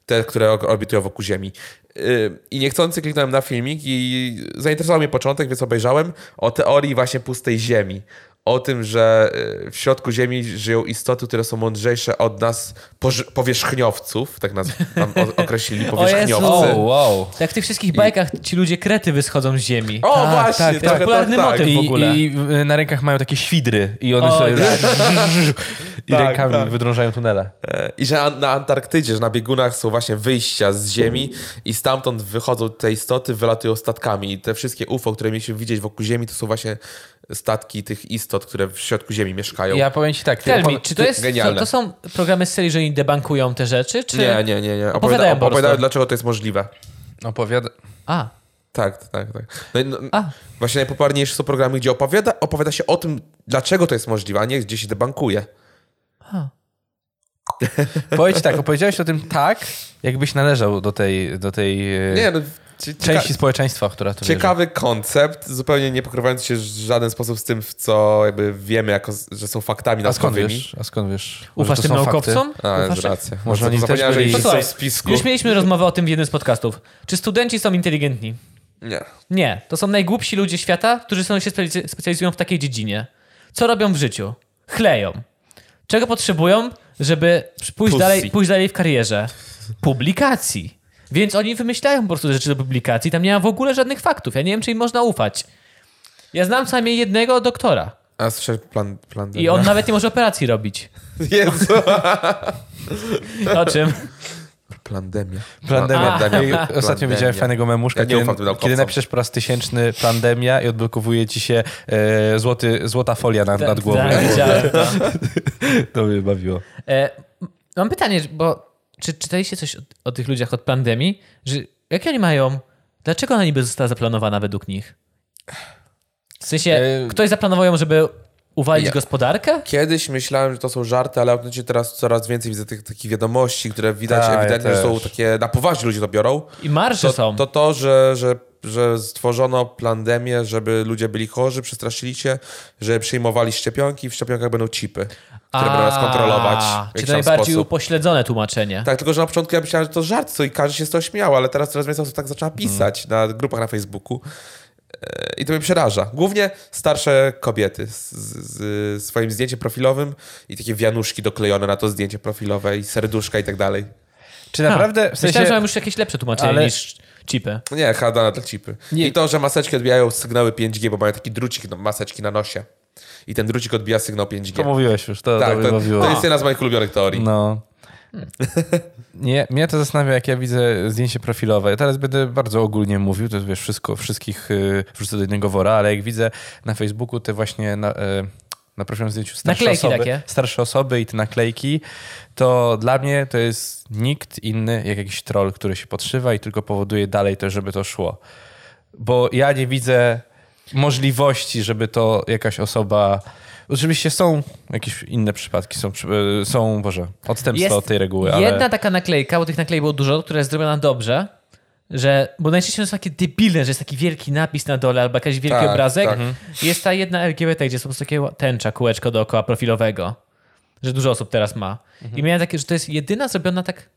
Speaker 1: te, które og- orbitują wokół Ziemi. Yy, I niechcący kliknąłem na filmik i zainteresował mnie początek, więc obejrzałem o teorii właśnie pustej Ziemi. O tym, że yy, w środku Ziemi żyją istoty, które są mądrzejsze od nas, poż- powierzchniowców, tak nas nam o- określili, powierzchniowcy.
Speaker 2: [laughs] O,
Speaker 3: O, wow.
Speaker 2: Jak w tych wszystkich bajkach ci ludzie krety wyschodzą z ziemi.
Speaker 1: O,
Speaker 2: Tak,
Speaker 1: właśnie,
Speaker 2: tak, to jest
Speaker 1: trochę
Speaker 2: popularny
Speaker 1: tak, tak.
Speaker 2: motyw
Speaker 1: I-
Speaker 2: w
Speaker 3: I,
Speaker 2: ogóle.
Speaker 3: I y, na rękach mają takie świdry i one
Speaker 2: O,
Speaker 3: sobie
Speaker 2: tak.
Speaker 3: [laughs] i
Speaker 1: Tak,
Speaker 3: rękami
Speaker 1: tak.
Speaker 3: wydrążają tunele.
Speaker 1: E, I że an- na Antarktydzie, że na biegunach są właśnie wyjścia z ziemi i stamtąd wychodzą te istoty, wylatują statkami. I te wszystkie UFO, które mieliśmy widzieć wokół ziemi, to są właśnie statki tych istot, które w środku ziemi mieszkają.
Speaker 3: Ja powiem ci tak.
Speaker 2: Tell
Speaker 3: ty
Speaker 2: me,
Speaker 3: opowi-
Speaker 2: czy to, jest, to,
Speaker 1: genialne.
Speaker 2: to są programy z serii, że oni debunkują te rzeczy, czy...
Speaker 1: Nie, nie, nie. nie.
Speaker 2: Opowiadają po
Speaker 1: opowiadałem,
Speaker 2: prostu.
Speaker 1: dlaczego to jest możliwe.
Speaker 3: No, Opowiada...
Speaker 2: A,
Speaker 1: Tak, tak, tak. No, i no,
Speaker 2: A.
Speaker 1: właśnie najpopularniejsze są programy, gdzie opowiada, opowiada się o tym, dlaczego to jest możliwe, a nie gdzie się debankuje.
Speaker 3: Powiem ci tak, opowiedziałeś o tym tak, jakbyś należał do tej, do tej y,
Speaker 1: Nie, no, cie- cieka-
Speaker 3: części społeczeństwa, która tu Ciekawe.
Speaker 1: Ciekawy koncept, zupełnie nie pokrywający się w żaden sposób z tym, w co jakby wiemy, jako, z- że są faktami
Speaker 3: A skąd
Speaker 1: naukowymi.
Speaker 3: wiesz? A skąd wiesz?
Speaker 2: ufasz
Speaker 3: Że to
Speaker 2: tym
Speaker 3: są
Speaker 2: naukowcom?
Speaker 1: A,
Speaker 2: Ufasz
Speaker 1: jest racja.
Speaker 3: Może
Speaker 1: Może
Speaker 3: oni
Speaker 1: oni
Speaker 3: też
Speaker 1: zapomniałem, że
Speaker 3: byli-
Speaker 1: ich są
Speaker 2: To słuchaj,
Speaker 1: w spisku.
Speaker 2: już mieliśmy rozmowę o tym w jednym z podcastów. Czy studenci są inteligentni?
Speaker 1: Nie.
Speaker 2: Nie, to są najgłupsi ludzie świata, którzy są, się specjaliz- specjalizują w takiej dziedzinie. Co robią w życiu? Chleją. Czego potrzebują, żeby pójść
Speaker 1: Pussy.
Speaker 2: dalej, pójść dalej w karierze? Publikacji. Więc oni wymyślają po prostu rzeczy do publikacji. Tam nie ma w ogóle żadnych faktów. Ja nie wiem, czy im można ufać. Ja znam co najmniej jednego doktora.
Speaker 1: A słyszałem plan, plan D,
Speaker 2: I on
Speaker 3: No.
Speaker 1: nie?
Speaker 2: nawet nie może operacji robić.
Speaker 1: [laughs] Jezu.
Speaker 2: O czym?
Speaker 1: Plandemia. No,
Speaker 3: Plandemia.
Speaker 1: Plandemia.
Speaker 3: Ostatnio widziałem fajnego memuszka,
Speaker 1: Ja nie
Speaker 3: kiedy,
Speaker 1: ufam tym naukowcom.
Speaker 3: kiedy napiszesz po raz tysięczny pandemia i odblokowuje ci się e, złoty, złota folia nad, nad głową.
Speaker 2: Tak, [laughs] widziałem to.
Speaker 3: [laughs] To mnie bawiło.
Speaker 2: E, m- mam pytanie, bo czy czytaliście coś o, o tych ludziach od pandemii? Że, jakie oni mają? Dlaczego ona niby została zaplanowana według nich? W sensie,
Speaker 3: E,
Speaker 2: ktoś zaplanował ją, żeby uwalić
Speaker 1: ja.
Speaker 2: gospodarkę?
Speaker 1: Kiedyś myślałem, że to są żarty, ale autentycznie teraz coraz więcej widzę tych takich wiadomości, które widać
Speaker 3: Tak, ja
Speaker 1: ewidentnie, że są
Speaker 3: też.
Speaker 1: takie na poważnie ludzie to biorą.
Speaker 2: I marsze
Speaker 1: To
Speaker 2: są.
Speaker 1: to, to że, że, że stworzono plandemię, żeby ludzie byli chorzy, przestraszyli się, że przyjmowali szczepionki i w szczepionkach będą chipy, które będą nas kontrolować. w
Speaker 2: Czy
Speaker 1: jakiś
Speaker 2: to
Speaker 1: tam
Speaker 2: najbardziej
Speaker 1: sposób.
Speaker 2: upośledzone tłumaczenie.
Speaker 1: Tak, tylko że na początku ja myślałem, że to żart, co i każdy się z tego śmiał, ale teraz coraz więcej osób tak
Speaker 3: Mm.
Speaker 1: zaczyna pisać na grupach na Facebooku. E, I to mnie przeraża. Głównie starsze kobiety z, z, z swoim zdjęciem profilowym i takie wianuszki doklejone na to zdjęcie profilowe i serduszka i tak dalej.
Speaker 3: Czy
Speaker 2: Ha,
Speaker 3: naprawdę... W sensie,
Speaker 2: Myślałem, że mam już jakieś lepsze tłumaczenie
Speaker 3: Ale-
Speaker 2: niż chipy.
Speaker 1: No Nie, hada na te chipy.
Speaker 3: Nie.
Speaker 1: I to, że maseczki odbijają sygnały 5G, bo mają taki drucik no, maseczki na nosie. I ten drucik odbija sygnał 5G.
Speaker 3: to mówiłeś już, to, to
Speaker 1: tak,
Speaker 3: mnie
Speaker 1: to,
Speaker 3: bawiło.
Speaker 1: to jest jedna z moich ulubionych teorii.
Speaker 3: No. Nie, mnie to zastanawia, jak ja widzę zdjęcie profilowe. Ja teraz będę bardzo ogólnie mówił, to jest, wiesz, wszystko, wszystkich y, wrzucę do jednego wora, ale jak widzę na Facebooku te właśnie na, y, na profilowym zdjęciu starsze
Speaker 2: Naklejki
Speaker 3: osoby,
Speaker 2: takie.
Speaker 3: starsze osoby i te naklejki, to dla mnie to jest nikt inny jak jakiś troll, który się podszywa i tylko powoduje dalej to, żeby to szło. Bo ja nie widzę możliwości, żeby to jakaś osoba... Oczywiście są jakieś inne przypadki, są, przy- y, są Boże, odstępstwa
Speaker 2: Jest
Speaker 3: od tej reguły, ale...
Speaker 2: Jedna taka naklejka, bo tych naklejek było dużo, która jest zrobiona dobrze, że, bo najczęściej są takie debilne, że jest taki wielki napis na dole albo jakiś wielki
Speaker 1: Tak,
Speaker 2: obrazek. Mhm.
Speaker 1: tak.
Speaker 2: Jest ta jedna LGBT, gdzie są po prostu takie tęcza, kółeczko dookoła profilowego, że dużo osób teraz ma. I miałem takie, że to jest jedyna zrobiona tak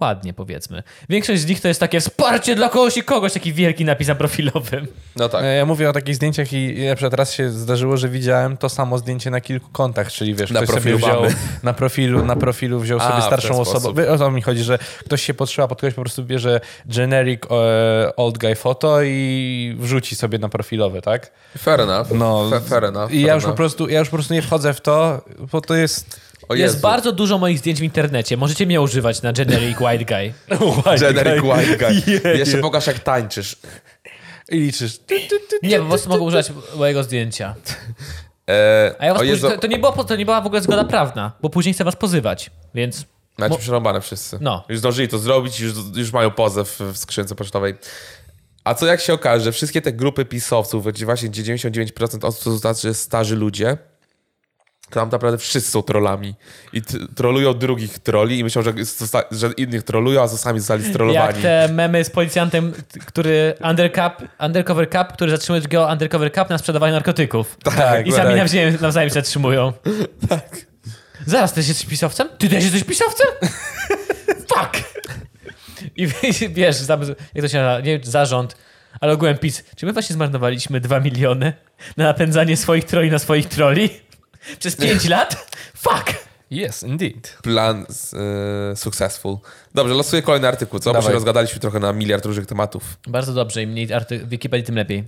Speaker 2: ładnie, powiedzmy. Większość z nich to jest takie wsparcie dla kogoś i kogoś, taki wielki napis na profilowym.
Speaker 1: No tak.
Speaker 3: e, Ja mówię o takich zdjęciach i i na przykład raz się zdarzyło, że widziałem to samo zdjęcie na kilku kontach, czyli wiesz,
Speaker 1: Na
Speaker 3: ktoś sobie
Speaker 1: profilu
Speaker 3: wziął
Speaker 1: mamy.
Speaker 3: na profilu, na profilu wziął
Speaker 1: A,
Speaker 3: sobie
Speaker 1: w
Speaker 3: starszą
Speaker 1: ten
Speaker 3: osobę.
Speaker 1: sposób.
Speaker 3: Wie, O to mi chodzi, że ktoś się podszyła pod kogoś, po prostu bierze generic e, old guy photo i wrzuci sobie na profilowe, tak?
Speaker 1: Fair enough.
Speaker 3: No.
Speaker 1: Fa- fair enough.
Speaker 3: I
Speaker 1: fair
Speaker 3: ja już po
Speaker 1: enough.
Speaker 3: prostu, ja już po prostu nie wchodzę w to, bo to jest...
Speaker 1: O
Speaker 2: Jest
Speaker 1: Jezu.
Speaker 2: bardzo dużo moich zdjęć w internecie. Możecie mnie używać na generic white guy.
Speaker 1: [laughs] Generic white
Speaker 2: [laughs]
Speaker 1: guy. Jeszcze pokaż jak tańczysz.
Speaker 3: I liczysz.
Speaker 2: Nie, po prostu mogę używać mojego zdjęcia.
Speaker 1: E,
Speaker 2: A ja was
Speaker 1: o
Speaker 2: pozi-
Speaker 1: Jezu,
Speaker 2: to, to, nie było, po- to nie była w ogóle zgoda prawna, bo później chcę was pozywać, więc
Speaker 1: macie przerąbane wszyscy.
Speaker 2: No.
Speaker 1: Już zdążyli to zrobić, już, już mają pozew w skrzynce pocztowej. A co jak się okaże, że wszystkie te grupy pisowców, gdzie właśnie gdzie 99% osób to znaczy starzy ludzie, to tam naprawdę wszyscy są trollami. I t- trolują drugich troli i myślą, że, zosta- że innych trolują, a sami zostali
Speaker 2: jak
Speaker 1: [laughs] strollowani.
Speaker 2: te memy z policjantem, t- który undercup, undercover cup, który zatrzymuje drugiego undercover cup na sprzedawanie narkotyków.
Speaker 3: Tak,
Speaker 2: I sami
Speaker 3: tak.
Speaker 2: nawzajem, nawzajem się
Speaker 1: [laughs]
Speaker 2: zatrzymują.
Speaker 1: Tak. [laughs]
Speaker 2: Zaraz, ty jesteś pisowcem? Ty też jesteś pisowcem? Fuck! Tak. I [laughs] wiesz, za, jak to się nazywa, nie, zarząd, ale ogółem PiS. Czy my właśnie zmarnowaliśmy 2 miliony na napędzanie swoich troli na swoich troli?
Speaker 1: [laughs]
Speaker 2: Przez 5 lat? Fuck!
Speaker 3: Yes, indeed.
Speaker 1: Plan z, y, successful. Dobrze, losuję kolejny artykuł, co? Bo
Speaker 3: Dawaj.
Speaker 1: się rozgadaliśmy trochę na miliard różnych tematów.
Speaker 2: Bardzo dobrze, im mniej arty- Wikipedii, tym lepiej.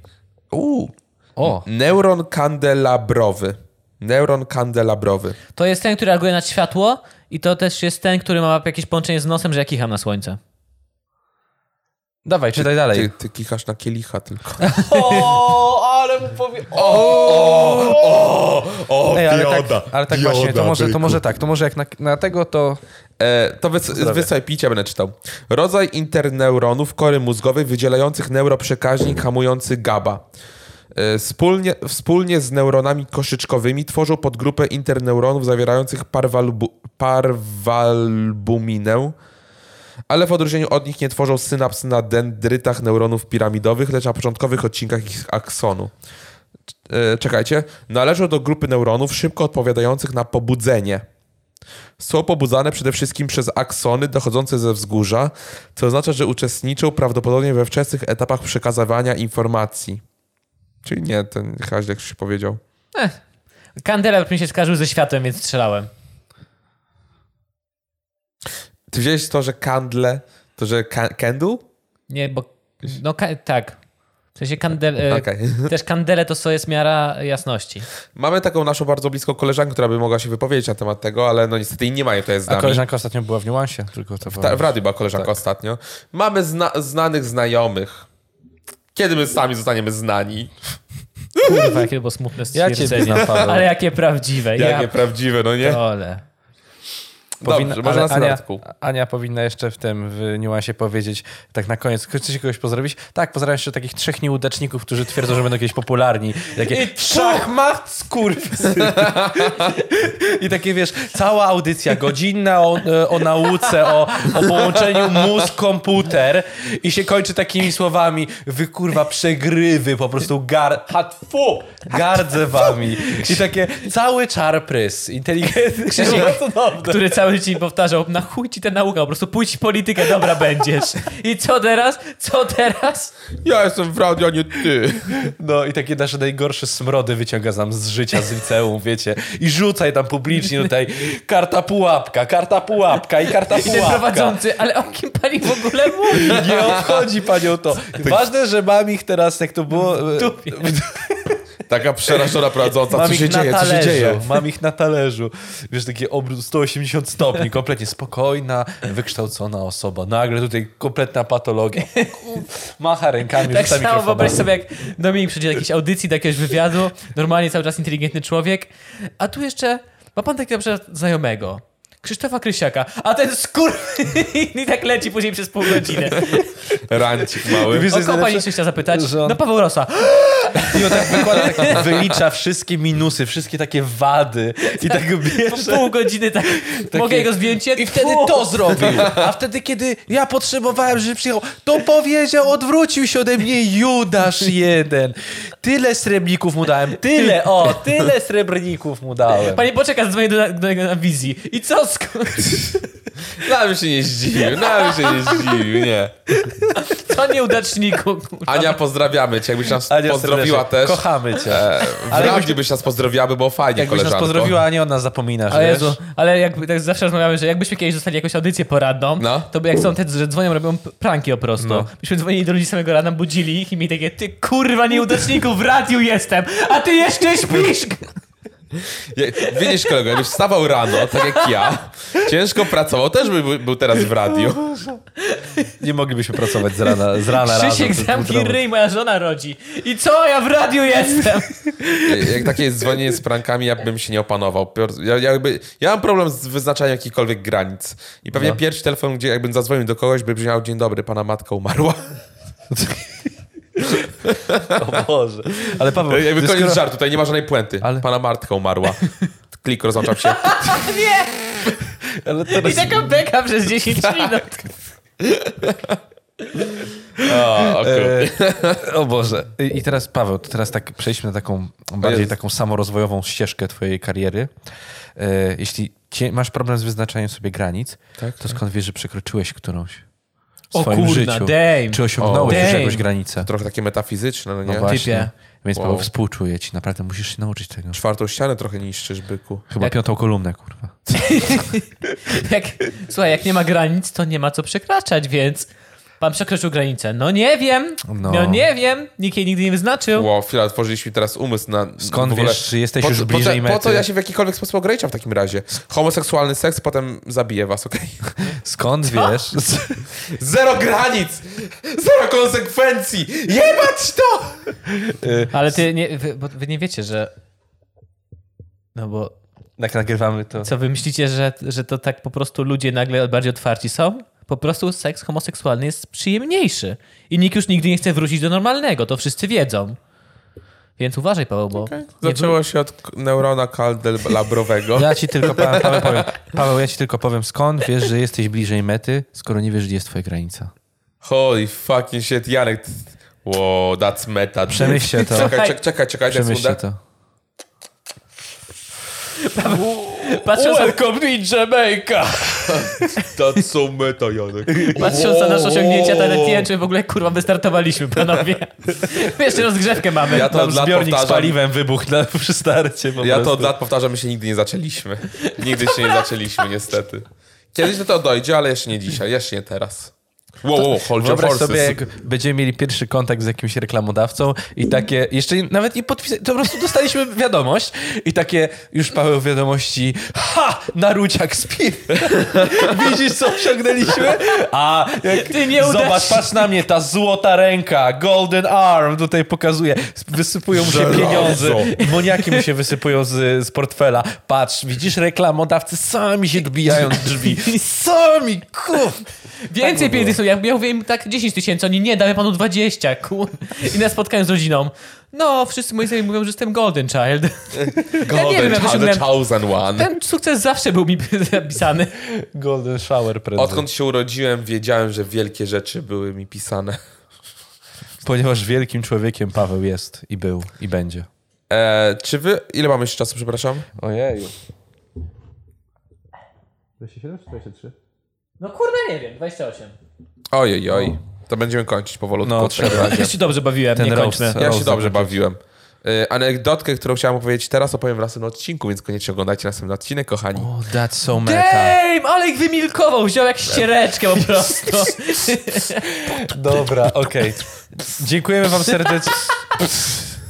Speaker 1: Uuu.
Speaker 3: O,
Speaker 1: Neuron kandelabrowy. Neuron kandelabrowy.
Speaker 2: To jest ten, który reaguje na światło i to też jest ten, który ma jakieś połączenie z nosem, że ja kicham na słońce.
Speaker 3: dawaj, czytaj
Speaker 1: Ty,
Speaker 3: dalej.
Speaker 1: ty kichasz na kielicha tylko.
Speaker 2: O, ale mu powie...
Speaker 1: O,
Speaker 3: Ej, ale tak, ale tak właśnie, to może, to może tak, to może jak na, na tego, to
Speaker 1: E, to wys- wysłaj picia będę czytał. Rodzaj interneuronów kory mózgowej wydzielających neuroprzekaźnik hamujący GABA. E, Wspólnie, wspólnie z neuronami koszyczkowymi tworzą podgrupę interneuronów zawierających parwalbu, parwalbuminę, ale w odróżnieniu od nich nie tworzą synaps na dendrytach neuronów piramidowych, lecz na początkowych odcinkach ich aksonu. E, Czekajcie. Należą do grupy neuronów szybko odpowiadających na pobudzenie są pobudzane przede wszystkim przez aksony dochodzące ze wzgórza, co oznacza, że uczestniczą prawdopodobnie we wczesnych etapach przekazywania informacji. Czyli nie, ten chyba źle ktoś powiedział.
Speaker 2: Kandela mi się skarżył ze światłem, więc strzelałem.
Speaker 1: Ty wziąłeś to, że kandle, to że ka- candle?
Speaker 2: Nie, bo... No ka- tak. W sensie kandel...
Speaker 3: Tak.
Speaker 2: e,
Speaker 3: [laughs]
Speaker 1: Okej. [laughs]
Speaker 2: Też kandele to co jest miara jasności.
Speaker 1: Mamy taką naszą bardzo bliską koleżankę, która by mogła się wypowiedzieć na temat tego, ale no niestety jej nie ma jej tutaj z
Speaker 3: A
Speaker 1: nami.
Speaker 3: koleżanka Tak. ostatnio była w niuansie, tylko to
Speaker 1: Ta, w radiu była koleżanka ostatnio. Mamy zna- znanych znajomych. Kiedy my sami zostaniemy znani?
Speaker 2: Kurwa, jakie to było
Speaker 3: [laughs]
Speaker 2: smutne
Speaker 3: Ja cię
Speaker 2: stwierdzenie.
Speaker 3: znam, Paweł.
Speaker 2: ale jakie prawdziwe.
Speaker 1: Jakie
Speaker 2: ja
Speaker 1: prawdziwe, no nie?
Speaker 2: Ole.
Speaker 1: Dobrze, może na
Speaker 3: Ania,
Speaker 1: artykuł.
Speaker 3: Ania powinna jeszcze w tym w niuansie powiedzieć, tak na koniec, chcecie kogoś pozdrowić? Tak, pozdrawiam jeszcze takich trzech nieudaczników, którzy twierdzą, że będą kiedyś popularni. [laughs] Takie, szachmat skurwysyn. [laughs] I takie, wiesz, cała audycja godzinna o, e, o nauce, o, o połączeniu mózg-komputer i się kończy takimi słowami, wy kurwa przegrywy, po prostu gar... Hatfu! Gardzę wami. I takie, cały czar prys, inteligentny.
Speaker 2: Krzysiek,
Speaker 3: Cudowne.
Speaker 2: Który cały dzień powtarzał, na chuj ci ta nauka, po prostu pójdź w politykę, dobra będziesz. I co teraz? Co teraz?
Speaker 1: Ja jestem w radiu, a nie ty.
Speaker 3: No i takie nasze najgorsze smrody wyciąga nam z życia, z liceum, wiecie. I rzucaj tam publicznie tutaj karta pułapka, karta pułapka i karta
Speaker 2: I ten
Speaker 3: pułapka.
Speaker 2: prowadzący, ale o kim pani w ogóle mówi?
Speaker 3: Nie obchodzi panią to. Ważne, że mam ich teraz, jak to było... e,
Speaker 2: dupie.
Speaker 1: Taka przerażona prowadząca,
Speaker 3: Mam
Speaker 1: co
Speaker 3: ich
Speaker 1: się
Speaker 3: na
Speaker 1: dzieje, co się
Speaker 3: talerzu,
Speaker 1: dzieje.
Speaker 3: mam ich na talerzu. Wiesz, taki obrót 180 stopni, kompletnie spokojna, wykształcona osoba. Nagle tutaj kompletna patologia. Macha rękami,
Speaker 2: Tak
Speaker 3: rzuca
Speaker 2: samo
Speaker 3: mikrofonem.
Speaker 2: wyobraź sobie, jak Dominik przyjdzie do jakiejś audycji, do jakiegoś wywiadu, normalnie cały czas inteligentny człowiek, a tu jeszcze ma pan takiego na przykład znajomego, Krzysztofa Krysiaka, a ten skór i tak leci później przez pół
Speaker 3: [laughs]
Speaker 2: godziny.
Speaker 1: Rancik mały.
Speaker 3: Wiesz, co
Speaker 2: O kogo
Speaker 3: jest
Speaker 2: pani
Speaker 3: najlepsze?
Speaker 2: jeszcze chciała zapytać?
Speaker 3: Że on-
Speaker 2: No Paweł
Speaker 3: [laughs]
Speaker 2: Rosa.
Speaker 3: I on tak wykłada, tak [laughs] wylicza wszystkie minusy, wszystkie takie wady i tak
Speaker 2: Po
Speaker 3: bierze.
Speaker 2: pół godziny
Speaker 3: [laughs]
Speaker 2: tak, mogę jego zdjęcie?
Speaker 3: I wtedy
Speaker 2: Fu.
Speaker 3: to zrobił. A wtedy, kiedy ja potrzebowałem, żeby przyjechał, to powiedział, odwrócił się ode mnie Judasz jeden. Tyle srebrników mu dałem, tyle, o, tyle srebrników mu dałem.
Speaker 2: Panie poczeka, zadzwonię do, do, do, na wizji. I co? sk-
Speaker 1: Na bym się nie zdziwił, na bym się nie zdziwił, nie.
Speaker 2: [laughs] Co nieudaczniku? kurwa.
Speaker 1: Ania, pozdrawiamy cię, jakbyś nas
Speaker 3: Ania,
Speaker 1: pozdrowiła
Speaker 3: serdecznie,
Speaker 1: też.
Speaker 3: Kochamy cię.
Speaker 1: E, W
Speaker 3: Ale
Speaker 1: radiu
Speaker 3: jakbyś-
Speaker 1: byś nas pozdrowiła, by było fajnie,
Speaker 3: Jakbyś nas
Speaker 1: koleżanko.
Speaker 3: pozdrowiła, a nie o nas zapominasz,
Speaker 2: O
Speaker 3: wiesz?
Speaker 2: Jezu, ale jakby, tak zawsze rozmawiamy, że jakbyśmy kiedyś dostali jakąś audycję poradną,
Speaker 1: No.
Speaker 2: to by jak są te, że dzwonią, robią p- pranki po prostu.
Speaker 3: No.
Speaker 2: Byśmy dzwonili do ludzi samego rana, budzili ich i mieli takie, ty kurwa nieudaczniku, w radiu jestem, a ty jeszcze śpisz!
Speaker 1: Je- Widzisz, kolego, jakbyś wstawał rano, tak jak ja, ciężko pracował, też by by- był teraz w radiu.
Speaker 3: Nie moglibyśmy pracować z rana, z rana razem.
Speaker 2: Krzysiek
Speaker 3: to- to- to-
Speaker 2: zamknij ryj, moja żona rodzi. I co, ja w radiu jestem! [laughs]
Speaker 1: E, Jak takie jest dzwonienie z prankami, ja bym się nie opanował. Pior- Ja, jakby, ja mam problem z wyznaczaniem jakichkolwiek granic. I pewnie
Speaker 3: No.
Speaker 1: pierwszy telefon, gdzie jakbym zadzwonił do kogoś, by brzmiał, dzień dobry, pana matka umarła. [laughs]
Speaker 3: O Boże. Ale Paweł,
Speaker 1: Ej, Jakby
Speaker 3: ty
Speaker 1: koniec
Speaker 3: skoro-
Speaker 1: żartu, tutaj nie ma żadnej puenty.
Speaker 3: Ale-
Speaker 1: Pana Martka umarła. Klik, rozłączam
Speaker 3: [laughs]
Speaker 1: się.
Speaker 2: Nie!
Speaker 3: ale Tak. teraz...
Speaker 2: I taka beka przez 10 minut.
Speaker 1: O, okej.
Speaker 3: E, [laughs] o Boże. I i teraz Paweł, to teraz tak przejdźmy na taką bardziej
Speaker 1: Jezu.
Speaker 3: taką samorozwojową ścieżkę twojej kariery. E, Tak, jeśli cie, masz problem z wyznaczaniem sobie granic, to skąd wiesz, że przekroczyłeś którąś? w swoim
Speaker 2: kurna,
Speaker 3: życiu.
Speaker 2: damn.
Speaker 3: Czy osiągnąłeś
Speaker 2: O,
Speaker 3: już
Speaker 2: damn.
Speaker 3: jakąś granicę?
Speaker 1: Trochę takie metafizyczne, no nie?
Speaker 3: No właśnie.
Speaker 2: Typie.
Speaker 3: Więc Paweł
Speaker 1: Wow.
Speaker 3: współczuję ci. Naprawdę musisz się nauczyć tego.
Speaker 1: Czwartą ścianę trochę niszczysz, byku.
Speaker 3: Chyba
Speaker 2: Jak-
Speaker 3: piątą kolumnę, kurwa.
Speaker 2: Jak, słuchaj, jak nie ma granic, to nie ma co przekraczać, więc pan przekroczył granicę. No nie wiem,
Speaker 3: No.
Speaker 2: no, nie wiem, nikt jej nigdy nie wyznaczył.
Speaker 1: Wow, chwila, otworzyliśmy teraz umysł na...
Speaker 3: Skąd
Speaker 1: w ogóle-
Speaker 3: wiesz, czy jesteś
Speaker 1: po,
Speaker 3: już
Speaker 1: co-
Speaker 3: bliżej
Speaker 1: po, co- Po co
Speaker 3: mety?
Speaker 1: ja się w jakikolwiek sposób ograniczam w takim razie? Homoseksualny seks potem zabije was, okej?
Speaker 3: [laughs] Skąd [laughs] wiesz?
Speaker 1: Zero granic! Zero konsekwencji! Jebać to!
Speaker 2: Ale ty nie, wy, bo wy nie wiecie, że... No bo
Speaker 3: Jak nagrywamy to...
Speaker 2: co, wy myślicie, że, że to tak po prostu ludzie nagle bardziej otwarci są? Po prostu seks homoseksualny jest przyjemniejszy. I nikt już nigdy nie chce wrócić do normalnego, to wszyscy wiedzą. Więc uważaj, Paweł, bo... nie
Speaker 1: Zaczęło się od k- neurona kaldelabrowego.
Speaker 3: Ja ci tylko, Paweł, Paweł, powiem, [laughs] Paweł, ja ci tylko powiem, skąd wiesz, że jesteś bliżej mety, skoro nie wiesz, gdzie jest twoja granica.
Speaker 1: Holy fucking shit, Janek. Wow, that's meta.
Speaker 3: Przemyślcie to.
Speaker 1: Czekaj, czekaj, czekaj, czekaj daj
Speaker 3: Przemyślcie
Speaker 1: sekundę.
Speaker 3: to.
Speaker 2: Patrząc na,
Speaker 1: Welcome to Jamaica! That's so meta, Janek.
Speaker 2: patrząc na nasze osiągnięcia tak,
Speaker 1: Wow.
Speaker 2: TNT, czy w ogóle kurwa wystartowaliśmy, panowie. Jeszcze rozgrzewkę mamy.
Speaker 1: Ja to
Speaker 3: Tam
Speaker 1: od lat
Speaker 3: zbiornik z
Speaker 1: powtarzam.
Speaker 3: paliwem wybuchł na, [laughs] przy starcie. [laughs] po
Speaker 1: Ja to
Speaker 3: prostu.
Speaker 1: od lat powtarzam, my się nigdy nie zaczęliśmy. Nigdy się nie zaczęliśmy, niestety. Kiedyś do tego dojdzie, ale jeszcze nie dzisiaj, jeszcze nie teraz. Wow, wow, hold your
Speaker 3: Wyobraź
Speaker 1: horses.
Speaker 3: sobie, jak będziemy mieli pierwszy kontakt z jakimś reklamodawcą i takie, jeszcze nawet nie podpisaliśmy, to po prostu dostaliśmy wiadomość i takie, już Paweł wiadomości, ha, naruciak z piw. [laughs] Widzisz, co osiągnęliśmy? A jak
Speaker 2: Ty nie uda
Speaker 3: Zobacz,
Speaker 2: się.
Speaker 3: patrz na mnie, ta złota ręka, golden arm tutaj pokazuje. Wysypują mu się
Speaker 1: Żelazo.
Speaker 3: pieniądze, moniaki mu się wysypują z, z portfela. Patrz, widzisz, reklamodawcy sami się odbijają od drzwi. Sami, kup!
Speaker 2: Więcej pieniędzy są. Ja, ja mówię im tak 10 tysięcy, oni nie, damy panu 20. Kur... I na spotkaniu z rodziną. No, wszyscy moi znajomi mówią, że jestem golden child. ja nie wiem, jak
Speaker 1: Golden
Speaker 2: osiągnąłem.
Speaker 1: the chosen one.
Speaker 2: Ten sukces zawsze był mi [laughs] zapisany.
Speaker 3: Golden shower prędzej.
Speaker 1: Odkąd się urodziłem, wiedziałem, że wielkie rzeczy były mi pisane.
Speaker 3: Ponieważ wielkim człowiekiem Paweł jest i był i będzie.
Speaker 1: E, czy wy... Ile mamy jeszcze czasu, przepraszam?
Speaker 3: Ojeju. 27 czy 23?
Speaker 2: No kurde, nie wiem, 28.
Speaker 1: Ojej, oj. To będziemy kończyć powolutku.
Speaker 3: No,
Speaker 1: w takim
Speaker 3: trzeba.
Speaker 1: razie.
Speaker 2: Ja się dobrze bawiłem,
Speaker 3: Ten
Speaker 2: nie
Speaker 3: roast.
Speaker 2: kończmy.
Speaker 1: Ja
Speaker 3: Roast
Speaker 1: się dobrze
Speaker 3: zakończyć.
Speaker 1: bawiłem. Y, Anegdotkę, którą chciałem opowiedzieć teraz, opowiem w następnym odcinku, więc koniecznie oglądajcie następny odcinek, kochani.
Speaker 3: Oh, that's so meta.
Speaker 2: Damn, ale ich wymilkował, wziął jak ściereczkę po prostu. [laughs]
Speaker 3: Dobra, okej. Dziękujemy wam serdecznie.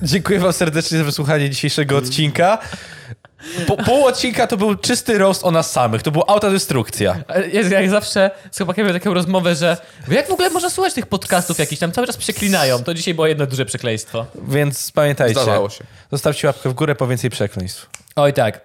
Speaker 3: Dziękuję wam serdecznie za wysłuchanie dzisiejszego odcinka. Po, pół odcinka to był czysty roast o nas samych. To była autodestrukcja.
Speaker 2: Ale Jest jak zawsze z chłopakami miałem taką rozmowę, że jak w ogóle można słuchać tych podcastów jakichś tam, cały czas przeklinają. To dzisiaj było jedno duże przekleństwo.
Speaker 3: Więc pamiętajcie.
Speaker 1: Zdarzało się.
Speaker 3: Zostawcie łapkę w górę po więcej przekleństw.
Speaker 2: Oj tak.